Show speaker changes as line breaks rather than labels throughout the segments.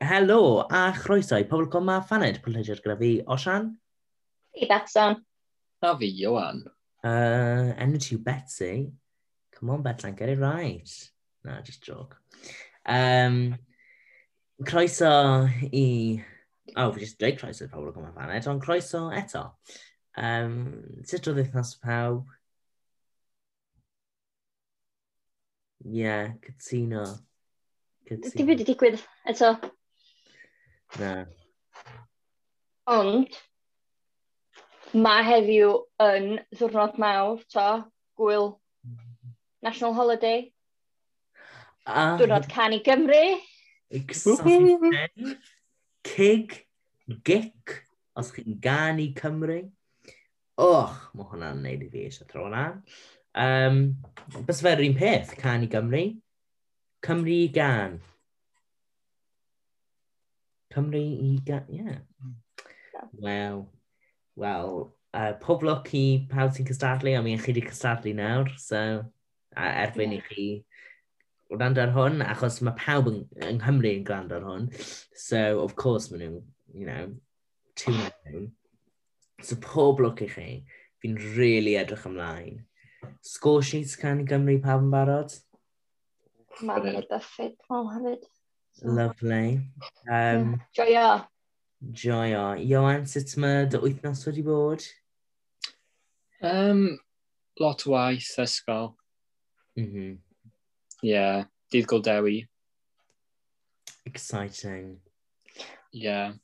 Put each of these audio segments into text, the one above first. Helo, a chroeso i Pobl Ma Ffaned, pleasure gyda fi, Osian.
I Bethan.
A fi, Iwan.
Uh, enw ti yw Betsy. Come on, Bethan, get it right. Na, just joke. Um, croeso i... Oh, fi jyst dweud croeso i Pobl Coma Ffaned, ond croeso eto. Um, sut oedd wythnos pawb? Ie, yeah, cytuno.
Dim byd i digwydd eto.
Na.
Ond, mae heddiw yn ddwrnod mawr, to, gwyl National Holiday,
Ah,
diwrnod can i Gymru.
Excited. Cig, gic, os chi'n gan i Cymru. Och, mae hwnna'n neud i fi eisiau tro hwnna. Um, Bys fe'r un peth, can i Gymru. Cymru i gan. Cymru i gan, ie. Yeah. Wel, wel, uh, pob lwc i pawb sy'n cystadlu, a mi chi wedi cystadlu nawr, so a erbyn i chi gwrando ar hwn, achos mae pawb yng, yng Nghymru yn gwrando ar hwn. So, of course, maen nhw, you know, tune in. So, pob lwc i chi. Fi'n really edrych ymlaen. Score sheets can i Gymru pawb yn barod.
Mae'n mynd Buffett, mae'n hefyd. Oh.
Lovely. Um,
Joio.
Joio. Johan, sut mae dy wythnos wedi bod?
Um, lot o waith ysgol.
Mm -hmm.
Ie. Yeah. Dydd Goldewi. Ie.
Exciting.
Yeah.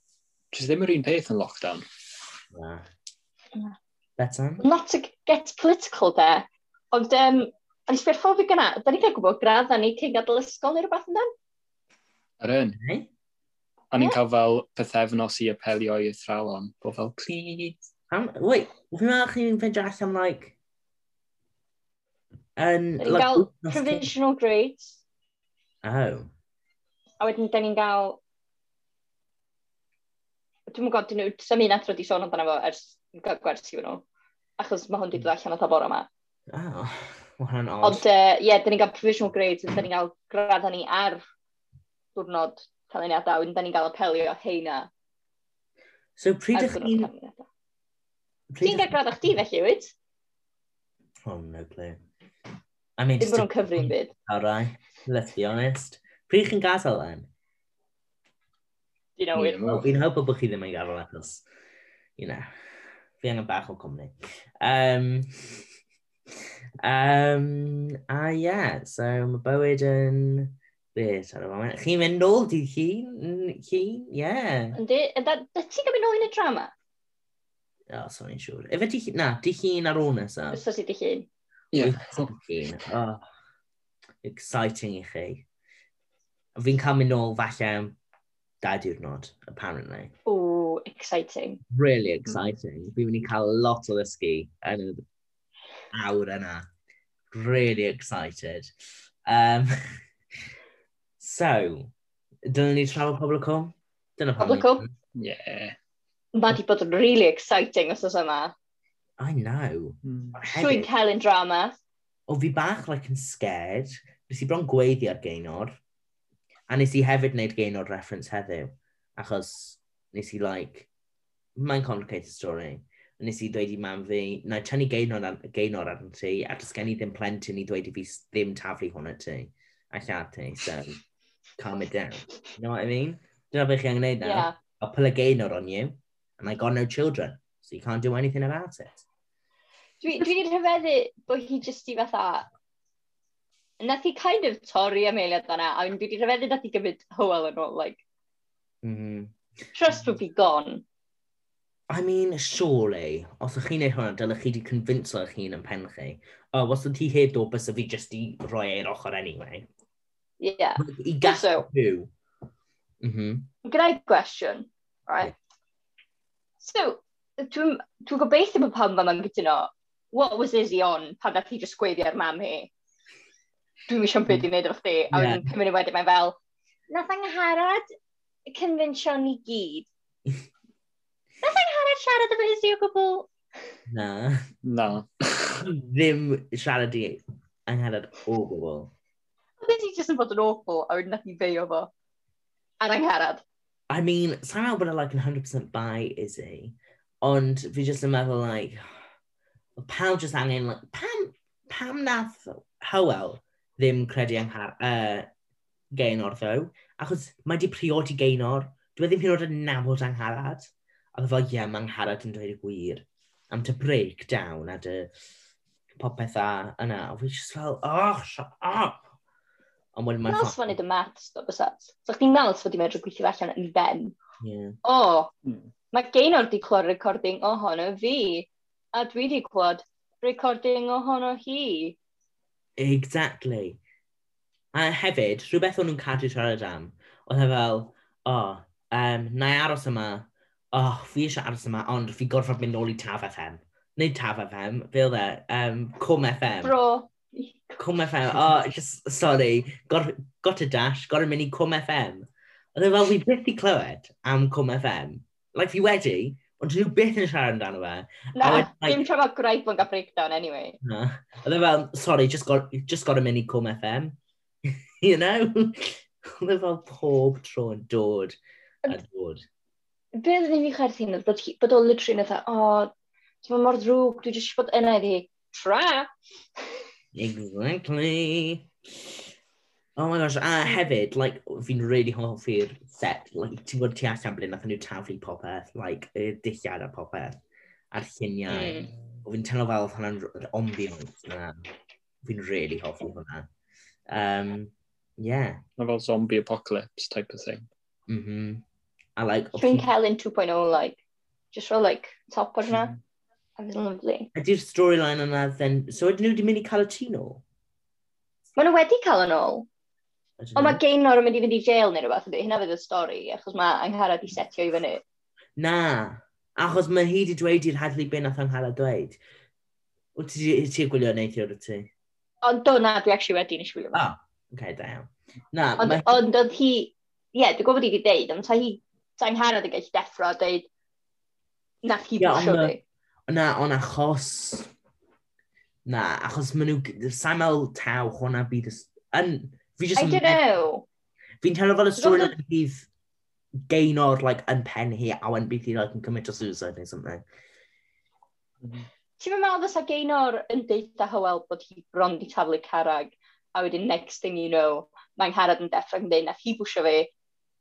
Jyst ddim yr un peth yn lockdown.
Na.
Na.
Betan?
Not to get political there, ond um, yn sbio'r ffordd fi gyna, da ni'n cael gwybod gradd a ni cyn gadael ysgol neu rhywbeth yn dan?
Ar un.
Hey?
A ni'n
Ie.
cael fel pethefnos i apelio i athrawon. Bo fel, please.
Um, wait, fi'n meddwl chi'n ffeindio allan, like... Yn...
Da ni'n
like,
gael
wythnos cyn-
provisional grades,
Oh.
a wedyn da ni'n gael... Dwi'n gwybod, dyn nhw, sy'n un atro di sôn amdano fo ers gael gwersi fy nhw, achos mae hwn di dod allan o tabor yma.
Oh. Mae hwnna'n odd.
Ond, yy, ie, da ni'n gael provisional grades, da ni'n gael gradd ni ar diwrnod canlyniadau, wedyn da ni'n gael apelio heina
So
ar
pryd ych
diwrnod
chi'n...
canlyniadau.
pryd
Ti'n
ych-
gael gradd o'ch di felly, wyt?
Oh, no clue. I mean,
Dim
just...
bod nhw'n cyfri'n byd.
Alright, let's be honest. Pryd ych chi'n gadael then?
Dwi'n know
Ie,
it.
Wel,
ma-
fi'n hybl bod chi ddim yn gadael achos, you know, fi angen bach o cwmni. Um, um, a ie, yeah, so mae bywyd yn... Beth ar y foment? Chi'n mynd nôl dydd hun? N- Hun? Ie. Yeah.
Yndi, yndda, dy ti'n gofyn ôl yn y drama?
Oh, so ni'n siŵr. Efe di hun? Na, di hun ar ôl nesaf.
Os oes i di hun.
Ie.
Wythnos yn hun. Oh, exciting i chi. Fi'n cael mynd nôl falle am dau diwrnod, apparently.
Ooh, exciting.
Really exciting. Fi'n mynd i cael lot o ddysgu yn y awr yna. Really excited. Um, so, dyna ni trafod Poblicwm? Dyna pam ni-
Poblicwm?
Ie.
Mae di bod yn really exciting os oes yma.
I know.
Trwy'n
Hefyd,
cael yn drama.
o fi bach like yn scared. Nes i bron gweiddi ar Gaynor. A nes i hefyd wneud Gaynor reference heddiw. Achos nes i like, mae'n complicated story. A Nes i dweud i mam fi, na i tynnu Gaynor, ar, Gaynor arno ti, a dys gen i ddim plentyn i dweud i fi s- ddim taflu hwn at ti. A llad ti, so calm it down. You know what I mean? Dyna beth chi angen gwneud nawr.
Yeah.
I'll pull a Gaynor on you, and I got no children, so you can't do anything about it.
Dwi Dwi'n rhyfeddu bod hi jyst i fatha... Nath hi kind of torri ameiliad yna, a dwi wedi rhyfeddu nath hi gymryd hywel yn ôl, like,
Mm-hmm.
trust would be gone.
I mean, surely, os ych chi'n ei hwnna, dylech chi wedi convince eich hun yn pen chi. O, oh, os ydych chi heb do, bys y fi jyst i roi e'r ochr anyway.
Yeah.
I gall
So,
byw. Mhm.
gwneud gwestiwn, right? So, dwi'n dwi gobeithio bod pam fan ma'n gytuno, what was Izzy on pan dath hi just gweiddi ar mam hi? Dwi'n sio'n byd i wneud efo chdi, a
Ie.
yeah. pum munud wedyn mae'n fel, nath angharad y confensiwn i gyd. nath angharad siarad efo Izzy o gwbl?
Na.
Na.
Ddim siarad i angharad o gwbl.
e Oedd Izzy just yn bod yn awful, a wedyn nath hi feio fo ar angharad.
I mean, sa'n meddwl bod e like, yn 100% by Izzy, ond fi jyst yn meddwl, like, oedd pawb jyst angen, like, pam, pam nath Howell ddim credu yng Nghar- uh, Gaenor, ddo? Achos mae di priodi Gaenor, dwi ddim hyn oed yn nabod angharad. A fel, ie, yeah, mae angharad yn dweud y gwir. Am to break down a dy popeth a yna. A fi jyst fel, oh, shut up! Ond wedyn
Mae'n
mae'n
alls fan i dy maths, do, bysat. So chdi'n meddwl sef wedi medru gweithio fe allan yn ben.
Yeah.
O,
Hmm.
mae Gaynor di clywed recording ohono fi, a dwi di clywed recording ohono hi.
Exactly. A hefyd, rhywbeth o'n nhw'n cadw siarad am, oedd e fel, o, oh, um, na i aros yma, o, oh, fi eisiau aros yma, ond fi gorfod mynd nôl i Taf FM. Neu Taf FM, fe oedd e, um, Cwm FM.
Bro,
Cwm FM, o, oh, just, sorry, gor, got a dash, gorfod mynd i Cwm FM. Oedd e fel, fi byth i clywed am Cwm FM. Like, fi wedi, ond dwi byth yn siarad amdano fe.
na,
would like-
dim tra mae graib yn gael breakdown anyway.
No. Oedd e fel, sorry, just got, just got a mini cum FM. you know? Oedd e fel pob tro yn dod a dod.
Be oedd ni fi chwerthu yn bod, hi- bod o literally yn eitha, o, ti'n mynd mor drwg, dwi jyst bod yna iddi. Tra!
Exactly. Oh my gosh, a hefyd, like, fi'n really hoffi'r set, like, ti'n gwybod ti allan blyn nath nhw taflu popeth, like, y dillad a popeth, a'r lluniau.
Mm.
O, Fi'n teimlo fel oedd hwnna'n r- yr ambiance yna. Fi'n really hoffi hwnna. Um, yeah.
Mae fel zombie apocalypse type of thing.
Mm -hmm. A like, o'
Dwi'n
ti'n-
Helen 2.0, like, just roll, like, top o'r
Hmm.
na, a fydd yn lyflu.
ydy'r storyline yna then, so ydyn nhw wedi mynd i cael y tu nôl?
Maen nhw wedi cael yn ôl.
I don't
Ond mae
know.
Gaynor yn mynd i fynd i jail neu rhywbeth, ydy, hynna fydd y stori, achos mae angharad i setio i fyny.
Na, achos mae hi wedi dweud i'r hadlu be nath Anghala dweud. Wyt ti wedi gwylio neithiwr o ti?
Ond do na, dwi actually wedi nes gwylio.
O, okay, da iawn. Na,
Ond
mae...
ond oedd hi, ie, dwi'n gwybod i wedi deud, ond ta hi, ta angharad yn gallu deffro a deud, nath hi
Ie, ond
bwysio
ma-
fi.
Na, ond achos... Na, achos maen nhw... Sa'n meddwl taw hwnna bydd... y s- Yn... Fi jyst...
I
yn
don't
me-
know.
Fi'n teimlo fel y
Dwi'n
stori
gweld
yn bydd gaynor, like, yn pen hi, a wedyn bydd hi, like, yn commit o suicide neu something.
Ti'n meddwl fysa Gaynor yn deud a Hywel bod hi bron di taflu carag, a wedyn next thing you know, mae angharad yn deffro yn deud, nath hi bwysio fi,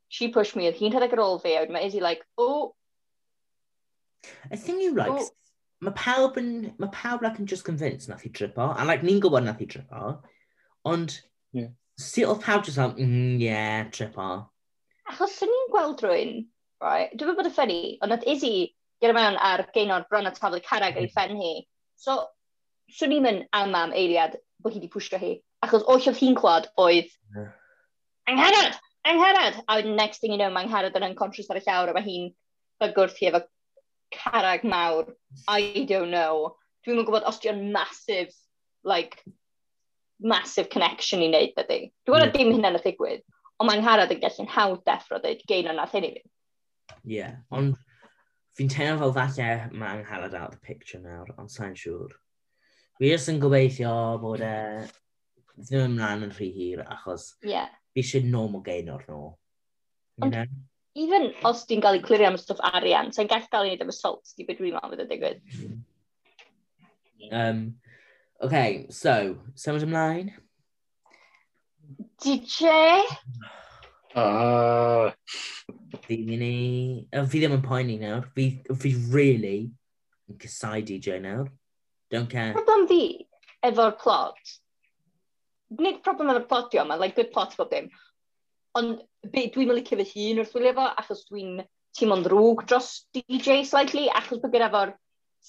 she pushed me, oedd hi'n rhedeg ar ôl fi, a wedyn mae Izzy like, oh,
I think you like...
Oh.
Mae pawb yn... Mae pawb like, yn just convinced nath i dripo. A like, ni'n gwybod nath i dripo. Ond...
Ie.
Sut oedd pawb just like, mm, yeah, dripo.
Achos swn i'n gweld rwy'n, right, dwi'n meddwl bod y ffynnu, ond oedd Izzy gyda mewn ar Gaynor bron a taflu carag ar ei ffen hi. So, swn i'n mynd am am eiliad bod hi wedi pwysio hi. Achos oll oedd hi'n clod oedd,
Ie.
angharad, angharad! A wedyn next thing you know, mae angharad yn unconscious ar y llawr a mae hi'n bygwrth hi efo carag mawr. I don't know. Dwi'n mynd gwybod os di o'n massive, like, massive connection i wneud ydy. Dwi'n gwybod
Ie.
dim hynna'n y ddigwydd ond mae'n harad yn gallu'n hawdd deffro dweud gein o'n nath hyn i fi.
Yeah. Ond fi'n teimlo fel falle mae angharad out the picture nawr, ond sa'n siŵr. Fi jyst yn gobeithio bod e ddim ymlaen yn rhy hir, achos
Yeah.
fi eisiau normal gaynor nhw. You
Ond-
know?
Even os ti'n cael ei clirio am stwff arian, sa'n gallu cael ei wneud efo salt, di beth dwi'n meddwl fydd y digwydd.
Um, okay, so, symud ymlaen.
DJ?
Ah,
Fi mynd i... Yy, Fi ddim yn poeni nawr. Fi, fi really yn cysau DJ nawr. Don't care.
Problem fi efo'r plot. Nid problem efo'r plot di o, mae'n like good plot bob dim. Ond be- dwi'n mynd licio fy hun wrth wylio fo, achos dwi'n teimlo'n ddrwg dros DJ slightly, achos bod gyda fo'r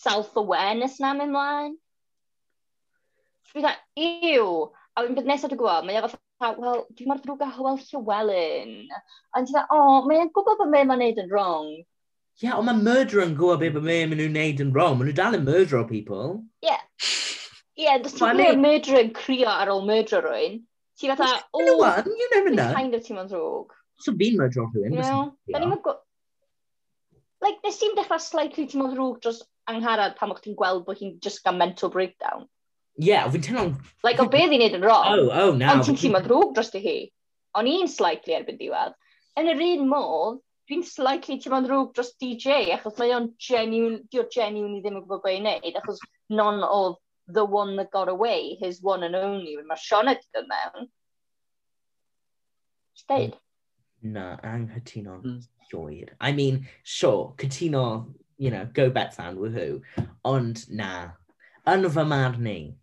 self-awareness na'n mynd mlaen. Dwi'n dda, ew! A wedyn bydd nesaf dwi'n gwybod, mae o fatha, wel, dwi'n mor ddrwg â Hywel Llywelyn. A dwi'n dda, o, oh, mae'n gwybod bod mae'n ma'n neud yn wrong.
Ie, yeah, ond mae murder yn gwybod beth mae maen nhw'n neud yn wrong. Maen nhw dal yn murder o people.
Ie, yeah, dwi'n
Funny.
gwybod murder yn crio ar ôl murder rwy'n. Ti'n fatha,
You know
o,
what? You never
Dwi'n
know.
kind of teimlo'n ddrwg.
So fi'n murder o rhywun.
You
fysen
know? Da ni'n mynd... Like, nes ti'n dechrau slightly teimlo'n ddrwg dros angharad pan o'ch ti'n gweld bod hi'n just gael mental breakdown.
i. Ie, fi'n teimlo'n...
Like, o beth i'n neud yn wrong,
Oh, oh, na.
ond ti'n teimlo'n ddrwg dros dy hi. O'n i'n slightly erbyn diwedd. Yn yr un modd, dwi'n slightly teimlo'n rhwg dros DJ, achos mae o'n genuine, diw'r genuine i ddim yn gwybod beth i'n neud, achos none of the one that got away, his one and only, mae Siona di dod mewn. Just deud.
Na, anghytuno'n
Mm.
llwyr. I mean, sure, cytuno, you know, go bet fan, woohoo. Ond na, yn fy marn i,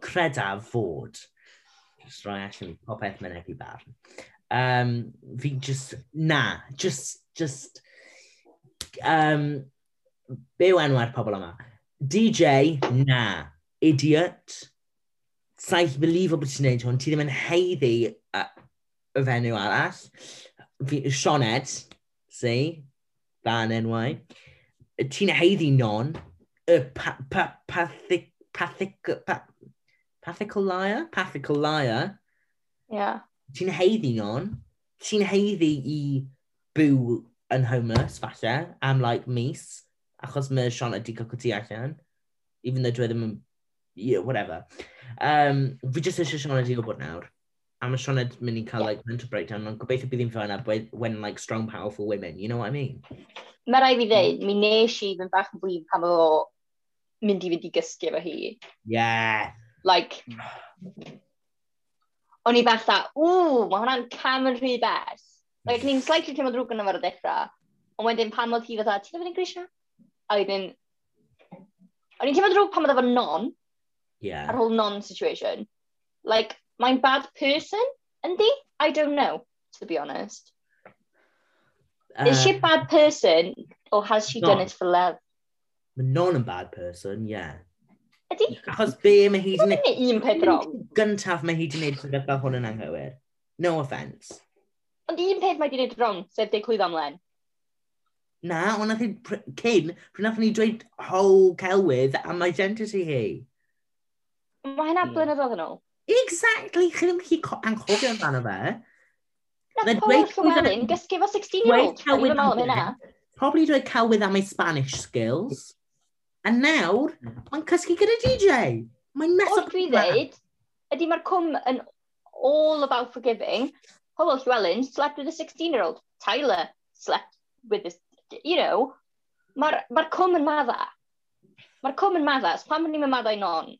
credaf fod, just roi allan i popeth mewn ebu barn, um, fi just, na, just, just, um, be enwau'r pobl yma. DJ, na, idiot, saith belifo bod ti'n neud hwn, ti ddim yn heiddi y y fenyw arall. Fi, Sioned, see, fan enwau. Ti'n heiddi non, y pa, pa, pathic, pathic, pa, pathical liar? Pathical liar. Hmm.
Yeah.
Ti'n heiddi non, ti'n heiddi i byw yn homeless, falle, am like mis, achos mae Sioned di cael cwti allan, even though dwi ddim yn, yeah, whatever. Um, fi jyst eisiau Sioned i gwybod nawr. A mae Sioned mynd i cael, like, mental breakdown, ond gobeithio bydd hi'n ffaen up when, when, like, strong, powerful women, you know what I mean?
Mae rai fi ddeud, mi nes i fynd bach yn flin pan oedd o mynd i fynd i gysgu efo hi.
Yeah.
Like, o'n i fatha, ww, mae hwnna'n cam yn rhy bell. Like, ni'n slightly teimlo drwg yn efo'r dechrau. Ond wedyn pan oedd hi fatha, ti'n dweud yn grisio? A wedyn, o'n i'n teimlo drwg pan oedd efo non,
Yeah.
ar ôl non situation. Like, mae'n bad person, yndi? I don't know, to be honest.
Uh,
Is she a bad person, or has she done
Non.
it for love?
Mae non yn bad person, yeah.
Ydi?
Achos be mae hi
Mae'n
wneud...
un peth wrong.
Gyntaf mae hi wedi gwneud sydd fel hwn yn anghywir. No offence.
Ond un peth mae wedi gwneud wrong, sef deu clwydd amlen.
Na, ond nath hi pr- cyn, pryd nath ni dweud whole celwydd am identity hi.
Mae hynna
Ie.
blynyddoedd yn ôl.
Exactly, chi ddim chi co- anghofio amdano fe.
Na
Mae'n
Paul
dweud clwydd am-
Llywelyn, gysgu efo 16-year-old.
Dweud
Dwi'n
celwydd
meddwl am hynna.
amlen. Probably dweud celwydd am ei Spanish skills. A nawr,
Mm.
mae'n cysgu gyda DJ. Mae'n mess
O'r
up
dwi
the plan.
ddeud, ydy mae'r cwm yn all about forgiving. Paul Llywelyn slept with a 16-year-old. Tyler slept with this, you know. Mae'r ma cwm yn madda. Mae'r cwm yn madda. So pan ni'n madda i non?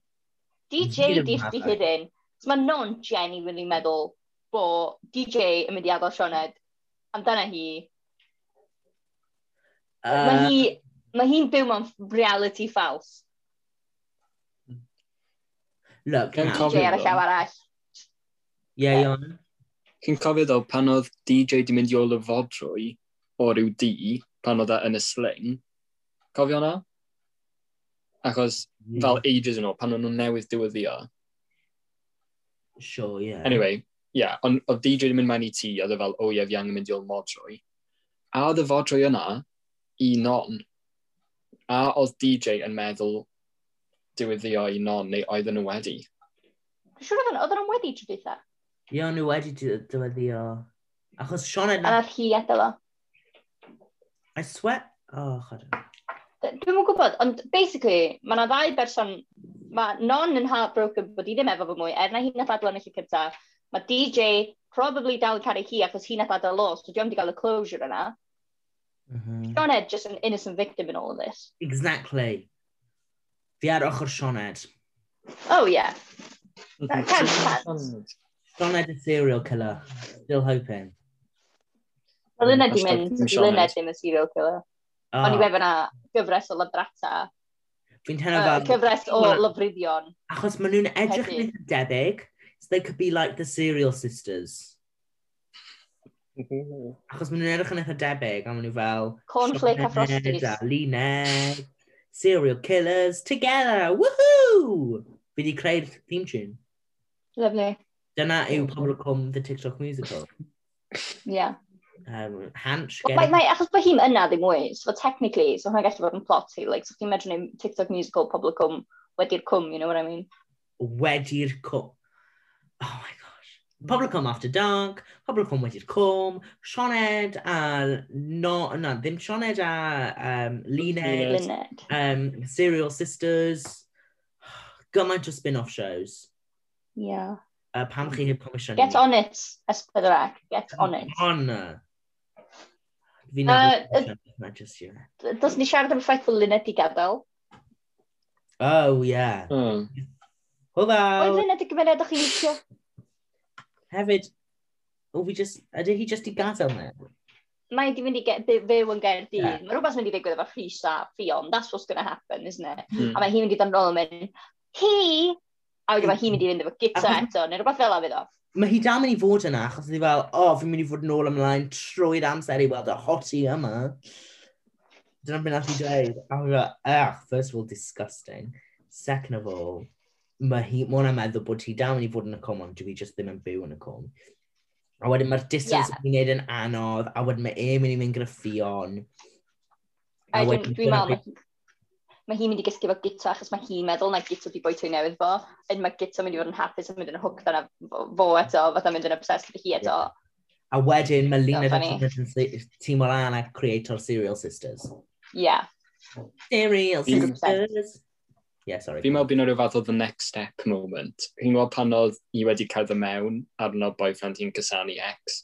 DJ
Ddim
di chdi
madda.
hydyn. So mae non genuinely meddwl bod DJ yn mynd i adael Sioned. Amdana hi, Mae
Uh,
hi, mae hi'n byw mewn reality false.
Look,
Gan
now.
cofio-
DJ ar y
hwn.
llaw arall.
Yeah, Ion.
Cyn cofio ddo, pan oedd DJ di mynd i ôl y fodrwy o ryw di, pan oedd e yn y sling, cofio hwnna? Achos fel ages yn ôl, pan o'n nhw newydd diwyddio.
Sure, yeah.
Anyway, ie, yeah, ond oedd DJ di mynd mewn i ti, oedd e fel, o oh, ie, fi angen mynd i ôl modrwy. A oedd y fodrwy yna i non. A oedd DJ yn meddwl diwyddio i non, neu oedden nhw wedi.
Dwi'n siŵr oedd yn- oedd yn wedi trwy e? dweitha.
Ie, ond nhw wedi dy- dyweddio. Achos Sean
A
Edna,
nath hi adael o.
I swear... Oh, chod.
D- Dwi'm yn gwybod, ond basically, mae yna ddau berson, mae non yn heartbroken bod hi ddim efo fy mwy, er na hi nath adael yn y lle cynta. Mae DJ probably dal yn caru hi achos hi nath adael o, so diwm di gael y closure yna.
Mm-hmm.
Mhm.
John Ed just an innocent victim in all of this.
Exactly. Fi ar ochr Sean Ed.
Oh yeah. Can- can.
Sean Ed y serial killer. Still hoping.
Wel yna di
Hashtag
mynd,
dim
di
Sion
lynedd
Ed.
ddim yn serial killer. O'n i
Oh,
wefo na gyfres o lyfrata,
fi'n
uh,
teimlo fel...
cyfres o
Wel,
lyfriddion.
Achos maen nhw'n edrych yn
Heddi.
eitha debyg, so they could be like the serial sisters. Achos maen nhw'n edrych yn eitha debyg, a maen nhw fel...
Cornflake a
Sean Ed
Frosties.
a Luned, serial killers, together, woohoo! Fi di creu'r theme tune.
Lovely.
Dyna yw pobl cwm The TikTok Musical.
Yeah.
Um, Hansh,
Mae, mae, achos bod hi'n yna ddim mwy, so technically, so hwnna'n gallu bod yn plot hi, like, so chi'n medru neud TikTok musical pobl y cwm, wedi'r cwm, you know what I mean?
wedi'r cwm. Oh my gosh. Pobl cwm after dark, pobl cwm wedi'r cwm, Sioned a... No, na, ddim Sioned a um, Luned,
Luned. Yes.
Lyned.
um, Serial Sisters, gymaint o spin-off shows.
Yeah.
Uh, pam chi heb comisiynu.
Get on it, S4C, get on it.
On. Fi
Yy,
nabod uh, na jyst yna.
Dos ni siarad am y ffaith bod Lynette i gadael.
Oh, yeah.
Oh,
Oedd
Hwyl!
Lynette y gymuned o'ch chi'n licio?
Hefyd, o fi just, ydy hi just i gadael e? na?
Mae di mynd i ge- by- fyw yn Gaerdydd.
Ie.
Yeah. Mae rhywbeth yn mynd i ddigwydd efo Rhys a Fion. That's what's going to happen, isn't it?
Mm.
A mae hi'n mynd i dan nôl yn mynd, hi! A wedyn mae hi'n mynd i fynd efo gyta
Achos-
eto, neu rhywbeth fel a fydd o.
Mae hi dal mynd i fod yna, achos ydi fel, o, oh, fi'n mynd i fod yn ôl ymlaen trwy'r amser i weld y hoti yma. Dyna beth nath i dweud. A fi fel, ugh, first of all, disgusting. Second of all, mae hi, mae hwnna'n meddwl bod hi dal mynd i fod yn y com, ond dwi just ddim yn byw yn y com. A wedyn mae'r distance
Ie.
yeah. fi'n gwneud yn anodd, a wedyn mae e mynd i mynd gyda Fion.
A
wedyn
wedyn, dwi'n
dyna
meddwl, mae- mae hi'n mynd i gysgu efo gyta, achos mae hi'n meddwl na gyta di boi twy newydd fo. Yn mae gyta mynd i fod yn hapus yn mynd yn hooked yna fo- fo eto, fatha mynd yn obsessed gyda hi eto.
A wedyn mae Lina
Dyna ni.
Duncan yn tîm o lan a creator Serial Sisters.
Ie. Yeah.
Serial
Fi'n-
Sisters! Yeah, sorry.
Fi'n meddwl bydd yna rhyw fath o the next step moment. Fi'n meddwl pan oedd hi wedi cerdd mewn arno boyfriend hi'n cysanu ex.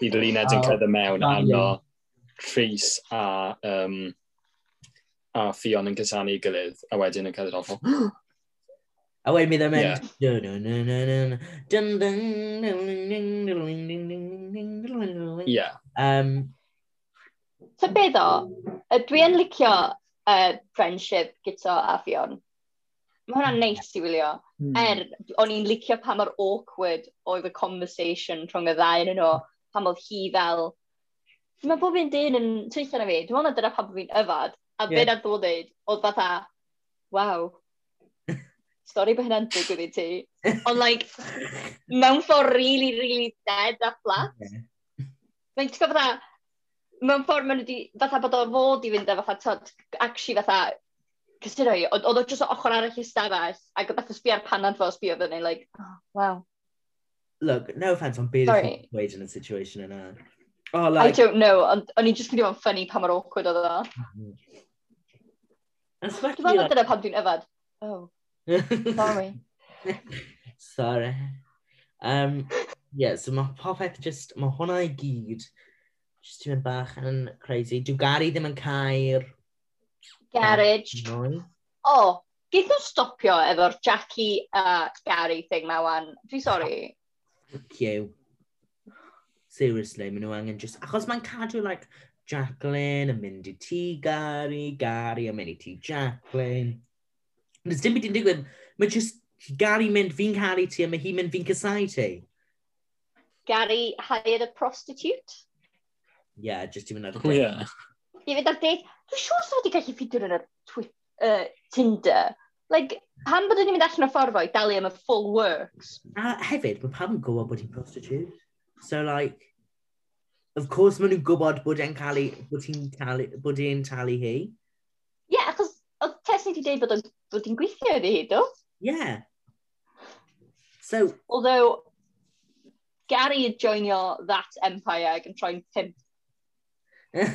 Bydd Luned yn
Oh,
cerdd mewn
Dami.
arno Rhys a, um, a Fion yn cysanu ei gilydd a wedyn yn cerdd off.
A wedyn mi ddim
Yeah.
yn... Dun, dun, dun, dun, dun. Dun, dun, dun, dun, dun, dun, dun, dun, dun, dun, dun.
Ie,
Um,
So be ddo, yy, dwi yn licio uh, friendship gyda a Fion. Mae hwnna'n neis i wylio.
Hmm.
Er, o'n i'n licio pa mor awkward oedd y conversation rhwng y ddau yn nhw, pam oedd hi fel... Mae bob un dyn yn twyllo na fi, dwi'n meddwl na dyna pam bod fi'n yfad, a
Ie.
yeah. be ddod dweud, oedd fatha, waw, stori bod hynna'n digwydd i ti. Ond, like, mewn ffordd really, really dead a flat. Mae'n ti'n gwybod fatha, mewn ffordd maen nhw wedi, fatha bod o fod i fynd a fatha, tod, actually fatha, cysyro i, oedd oedd o jyst o ochr arall i stafell, ac oedd fatha sbio ar panad fo, sbio fyny, like, oh, wow,
look, no offence, ond beth yw'n
Sorry.
dweud yn y situation yna. Oh,
I
like,
don't know, ond o'n i jyst gyda fo'n ffynnu pa mor awkward oedd o. Dwi'n
especially
meddwl
like...
dyna pam dwi'n yfad. Oh, sorry.
Sorry. Um, yeah, so mae popeth just, mae hwnna i gyd just ti'n mynd bach yn crazy. Dwi'n gari ddim yn cael
Garage.
noi.
O, oh, geith nhw stopio efo'r Jackie a Gary thing ma wan. Dwi'n sori.
Cyw. Seriously, maen nhw angen just... Achos mae'n cadw, like, Jacqueline yn mynd i ti Gary, Gary yn mynd i ti Jacqueline. Nes dim byd yn digwydd, mae just Gary mynd, fi'n caru ti, a mae hi'n mynd, fi'n cysau ti.
Gary hired a prostitute?
Yeah, just i mynd ar y
Oh, yeah.
i fynd ar date, dwi'n siŵr sef wedi gallu ffidio yn yr Twi- yy, Tinder. Like, pan bod ni'n mynd allan o ffordd fo i dalu am y full works.
A hefyd, mae pawb yn gwybod bod hi'n prostitute. So, like, of course maen nhw'n gwybod bod e'n cael ei, bod hi'n talu, bod hi'n talu hi.
Ie, yeah, achos oedd Tess wedi dweud bod o'n- bod hi'n gweithio iddi hi, do?
Yeah. So,
Although, Gary yn joinio that empire ag yn troi'n pimp.
that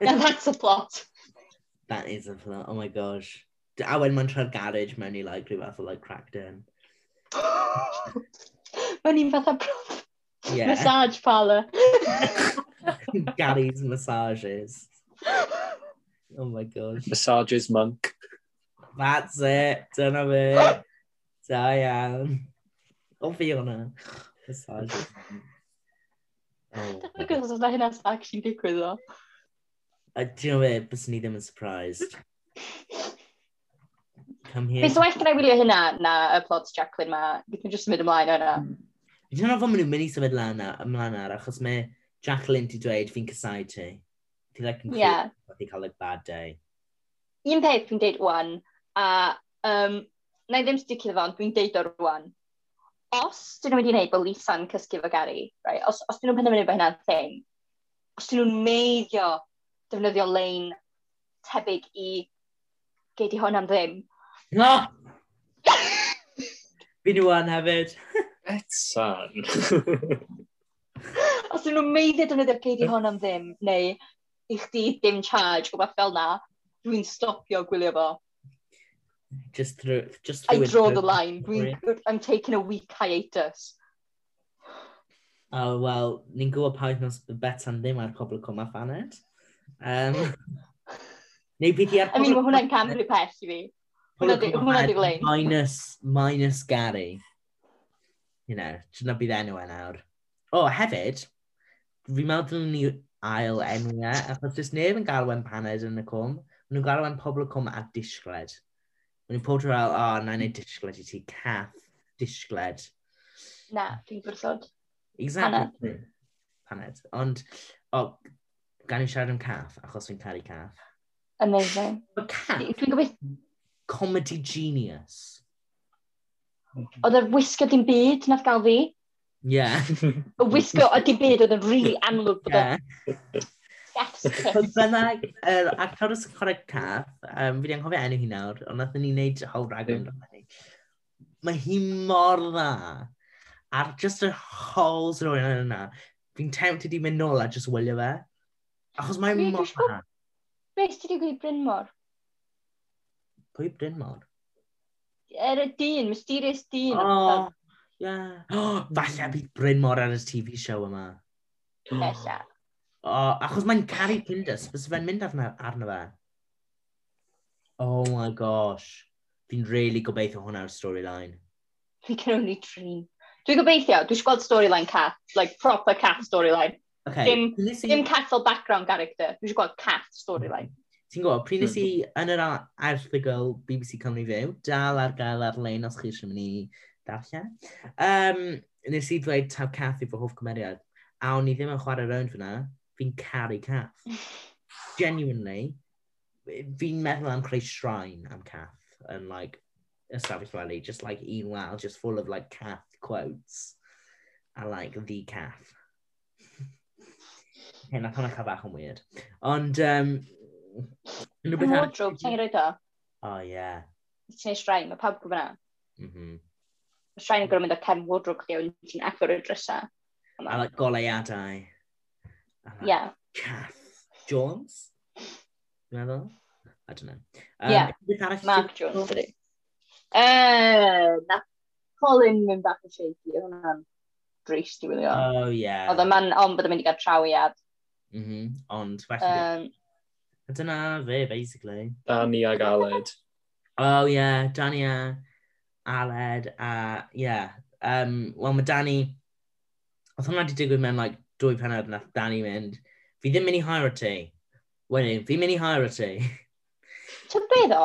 Now that's a plot.
is a plot. Oh my gosh. D- A wedyn mae'n tra'r garage mewn i, like, rhyw fath o, like, crackdown.
Mae'n ni'n fatha prof-
Yeah.
massage parlour.
Gary's massages. Oh my gosh.
Massages monk.
That's it. Dyna fe. Da iawn. O fi hwnna. Massages. Oh. my God.
Achos oedd na hynna'n actually digwydd o.
A ti'n gwybod beth, bys ni ddim yn surprised. Come here.
Beth well gyda wylio hynna na y plot Jacqueline ma. Gwyd nhw'n just mynd ymlaen o hynna.
Ti'n gwybod fod maen nhw'n mynd i symud lan na- ymlaen ar, achos mae Jacqueline di dweud fi'n cysau ti. Ti'n like, yn
Ie.
yeah. wedi cael like bad day.
un peth dwi'n deud wan, a um, na i ddim sticio iddo fo, ond dwi'n deud o'r wan. Os dyn nhw'n mynd i wneud bod Lisa'n cysgu fo Gary, right? os, os dyn nhw'n penderfynu bod hynna'n thing, os dyn nhw'n meiddio defnyddio lein tebyg i gei di hwn am ddim.
No! Fi nhw an hefyd.
Betsan.
Os dyn nhw'n meiddio defnyddio gei di hwn am ddim, neu i chdi dim charge o beth fel na, dwi'n stopio gwylio fo.
Just through... Just
I
through
draw the line. Dwi'n, I'm taking a week hiatus.
O, oh, wel, ni'n gwybod pa wythnos betan ddim ar pobl cwma ffaned. Um, neu bydd i ar
I mean, mae hwnna'n camru pell i fi. hwnna
Pobl
di-
Cwm a
hwnna di
Ffaned
lein.
Minus, minus Gary. You know, dyna bydd enw e nawr. O, oh, hefyd, fi'n meddwl dyn ni ail enw e, achos does neb yn galwen paned yn y cwm. Maen nhw'n galwen pobl y cwm a disgled. Maen nhw'n pob fel, o, oh, na i neud disgled i ti, cath, disgled.
Na, dwi'n gwrthod.
Exactly. Paned. Ond, o, oh, gan i siarad am cath, achos fi'n caru cath.
Amazing.
Mae
Dwi'n
cath,
gobeithio,
comedy genius.
oedd yr wisgo dim byd nath gael fi.
Yeah.
Y wisgo o dim byd oedd yn rili amlwg bod
yeah.
o'n
Wel,
desk.
Byna, yr actor sy'n chwarae cath, um, fi di anghofio enw hi nawr, ond nath ni wneud whole raglen amdano hi. Mae hi mor dda. Ar just y holes yn oed yna, fi'n tempted i mynd nôl a just wylio fe. Achos mae'n
Fi-
mor
dwi'n siŵr-
dda.
Beth ti wedi gwneud Bryn Mawr?
Pwy Bryn Mawr?
Er y dyn, mysterious dyn.
O, ie. Falle bydd Bryn Mawr ar y TV show yma.
Bella.
O, achos mae'n caru Pindus, fes fe'n mynd arna, arno fe. Oh my gosh. Fi'n really gobeithio hwnna'r storyline.
We can only dream. Dwi'n gobeithio, dwi'n gweld storyline cat, like proper cat storyline.
Okay.
Dim-
pryd nes i-
Dim cat fel background character, dwi'n gweld cat storyline.
Ti'n gwybod, pryd nes i yn yr a- erthigol BBC Cymru Fyw, dal ar gael ar-lein os chi eisiau mynd i darllen. Um, nes i ddweud taw cath i fy hoff cymeriad, a o'n i ddim yn chwarae rownd fyna, fi'n caru cath. Genuinely, fi'n meddwl am creu shrine am cath, yn like, ystafell wely, just like un wal, just full of like cath quotes, a like the cath. Hyn, nath hwnna cael bach yn weird. Ond, um,
Yn
rhywbeth arall-
wardrobe, ti'n rhaid o?
O, ie.
Ti'n ei srain, mae pawb gwybod na.
Mhm.
Mae srain yn gwrdd mynd o cefn wardrobe chdi o'n ti'n agor y dresa.
A like goleuadau. A like
Yeah.
Kath Jones? Dwi'n meddwl? I don't know.
Yeah,
rhywbeth arall ti-
Mark Jones, ydy. Eee, na, Colin mynd bach yn shaky, oedd hwnna'n drist i wylio.
Oh, yeah.
Oedd y man on bod yn mynd i gael trawiad.
Mhm, Ond, well, um,
Um,
dyna fe, basically.
Danny ag Aled.
Oh, yeah, Danny a Aled a, yeah. Um, Wel, mae Danny... Oedd hwnna wedi digwydd mewn, like, dwy penod nath Danny mynd. Fi ddim mynd i hire ti. Wedyn, fi'n mynd i hire ti.
Ti'n be ddo?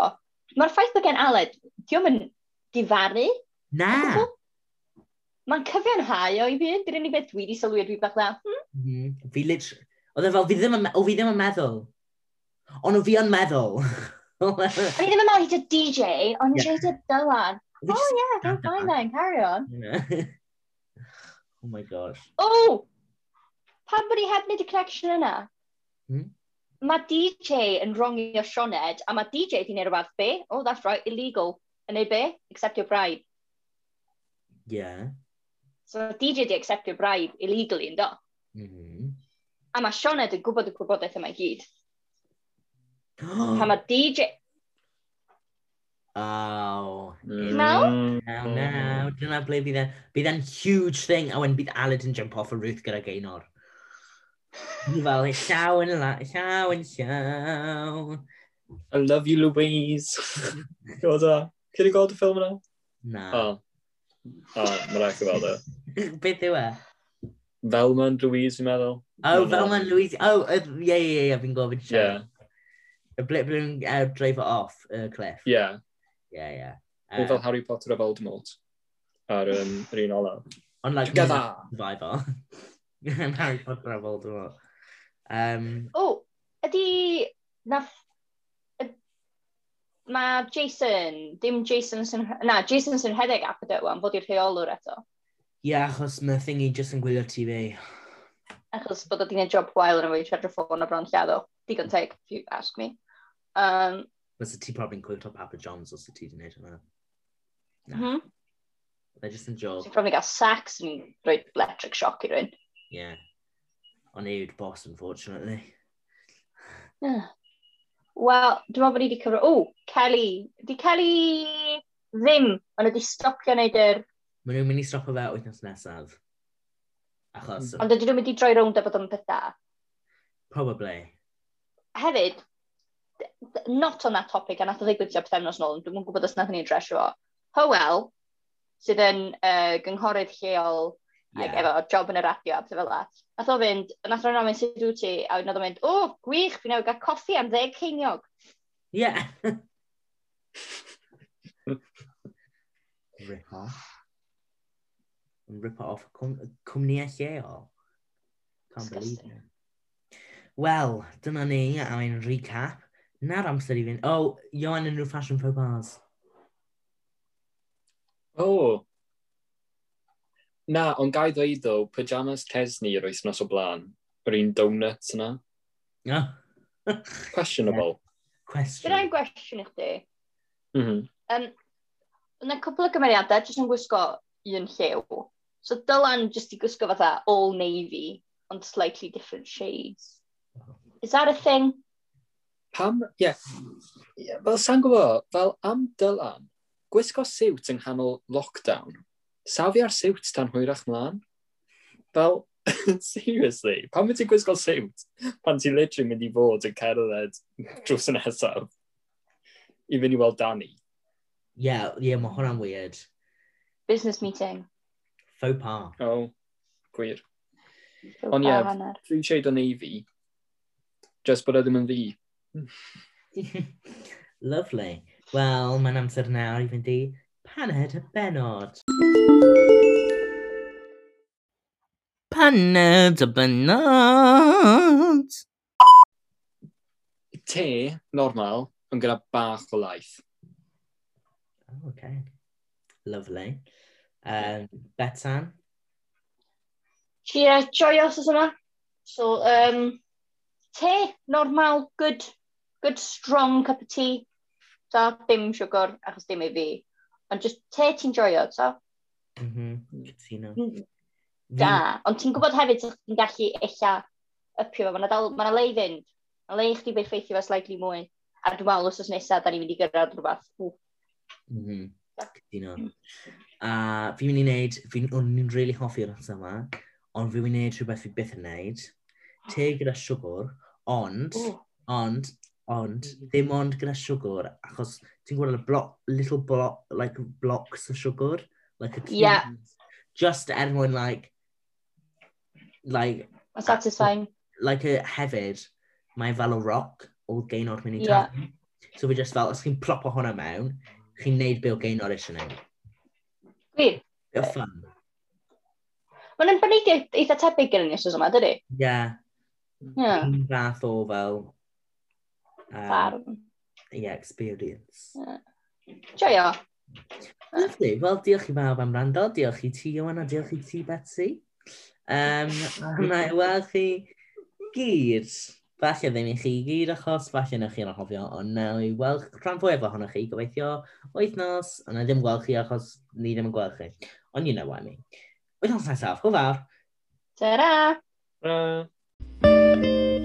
Mae'r ffaith bod gen Aled, diwm yn difaru.
Na!
Mae'n cyfiawnhau o'i fi, dy'r unig beth dwi wedi sylwi dwi bach fel, hmm,
Mhm. Fi literally... Oedd e fel, fi ddim yn, me- o, fi ddim yn meddwl. Ond o fi yn meddwl.
o'n i ddim yn meddwl i dy DJ, o'n i
Ie.
eisiau dy dylan.
Fi
Oh
jyst-
yeah, don't mind that, carry on.
oh my gosh.
O! Pan Oh! bod i heb wneud y connection yna?
Hmm?
Mae DJ yn wrongio Sioned, a mae DJ di neud rhywbeth be? Oh, that's right, illegal. Yn ei be? Accept your bribe.
Yeah.
So mae DJ di accept your bribe illegally, ynddo?
Mhm.
A mae Sioned yn gwybod y gwybodaeth yma i gyd. Pan
Mm
mae DJ...
oh.
Mm.
Now, now, dyna ble bydd e. Bydd e'n huge thing, a wedyn bydd Aled yn jump off y roof gyda Gaynor. Ni fel, llaw yn la, llaw yn llaw.
I love you, Louise. Gwyd o. Cyn i gweld y ffilm yna? Oh.
Na.
O. O, mae'n rhaid i weld e.
Beth yw e?
Felman Louise, fi'n meddwl.
Oh,
No, no.
fel mae'n Louise. Oh, uh, yeah, yeah, yeah, fi'n gofyn
Ie. Yeah.
Y ble ble nhw'n uh, dreifo off y uh, cliff.
Ie. Yeah.
Yeah, yeah.
Neu
Uh,
fel Harry Potter a Voldemort. Ar um, yr un ola.
ond like,
Together.
survivor. And Harry Potter a Voldemort. Um,
O, oh, ydy... Nath... y- Mae Jason, dim Jason sy'n... Na, Jason sy'n hedeg ap ydy o'n fod i'r rheolwr eto.
yeah, achos mae thingy just yn gwylio TV.
Achos bod o di gwneud job wael yn y fwy siarad y ffôn a bron llado. Digon teg, if you ask me. Um,
Fysa ti probably'n cwylio Papa John's os ti di wneud hwnna.
mm -hmm.
They're just yn job,
Ti'n probably gael sax yn rhoi electric shock i rhywun.
yeah. Ond ewd boss, unfortunately.
Ah. Wel, dwi'n meddwl bod ni wedi cyfro... O, Kelly. Di Kelly ddim, ond wedi stopio wneud yr...
Mae nhw'n mynd i stopio fe wythnos nesaf. Achos, uh,
Ond ydyn nhw'n mynd i droi rownd a bod yn peth da.
probably.
Hefyd, d- d- not on that topic, a nath o ddigwydd tua pethefnos nôl, ond dwi'm yn gwybod os nath ni'n dresio fo. Howell, sydd yn uh, gynghorydd lleol like,
Yeah.
efo job yn y radio a pethau fel that. Nath o fynd, nath o'n rhaid sut wyt ti, a wedyn oedd o'n mynd, o, gwych, fi newid gael coffi am ddeg ceiniog.
Yeah.
Ripper.
and rip it off a cwm- cwmnïau lleol. Can't believe
Disgusting.
it. Wel, dyna ni am ein recap. Na'r amser i fynd. O, oh, Ioan yn rhyw fashion faux pas.
Oh. Na, ond gai ddweud ddo, pyjamas Tesni yr wythnos o blaen. Yr un donuts yna.
Oh,
Questionable.
question.
Dyna'n gwestiwn i chdi.
Yeah. Mm
Um, yna cwpl o gymeriadau jyst yn gwisgo un lliw. So dylan jyst i gwisgo fatha all navy, ond slightly different shades. Is that a thing?
Pam, ie. Yeah. Yeah, fel sa'n gwybod, fel am Dylan, gwisgo siwt yng nghanol lockdown. Safi ar siwt tan hwyrach mlaen. Fel, seriously, pam wyt ti'n gwisgo siwt? Pan ti literally mynd i fod yn cerdded drws yn nesaf. I fynd i weld Danny.
Yeah, yeah, mae hwnna'n weird.
Business meeting.
Faux pas.
Oh, gwir. Ond ie.
Hanner.
Three Shade o Navy. Just bod o ddim yn fi.
Lovely. Wel, mae'n amser nawr i fynd i paned y benod. Paned y benod!
Te, normal, yn gyda bach o laeth.
Oh, okay. Lovely. Um, Betan?
Ie, joyous os yma. So, um, te, normal, good, good strong cup of tea. So, dim siwgr, achos dim i fi. Ond just te ti'n joio, so,
Mhm. Cytuno. Fi-
da. Ond ti'n gwybod hefyd sa'ch ti'n gallu ella ypio fo. Mae yna le i fynd. Mae le i chdi beth ffeithio fo slightly mwy. A dwi'n meddwl os nesaf, da ni'n mynd i gyrraedd rhywbeth. Ww,
Mhm.
Da.
Cytuno. A fi'n mynd Uh, i wneud, fi'n o'n i'n really hoffi'r amser yma, ond fi'n mynd i wneud rhywbeth fi byth yn wneud. Te gyda siwgr, ond,
ww.
ond, ond,
Mm-hmm.
ddim ond gyda siwgr, achos ti'n gweld y block, little block, like blocks o siwgr, like a
Yeah.
Just er mwyn, like, like,
Mae'n satisfying.
like a hefyd, mae fel o roc o gaenor mynd i
Yeah.
yeah. So fi just fel, os chi'n plopo hwnna mewn, chi'n neud be o gaenor eisiau neud.
Gwir.
Bit of fun.
Mae'n ymwneud eitha tebyg gyda ni os yma, dydy?
Yeah.
Ie.
Un fath o fel... Um,
Farm.
yeah, experience.
Joio.
Lovely. Wel, diolch i bawb am rando. Diolch i ti, Iwan, a diolch i ti, Betsy. Um, a na i weld chi gyd. Falle ddim i chi gyd achos, falle newch chi'n anghofio, ond naw i weld rhan fwy efo honno chi, gobeithio, wythnos, ond na ddim gweld chi achos ni ddim yn gweld chi. Ond you know what I mean. Wythnos nesaf, hwyl fawr!
Ta-ra!
Uh...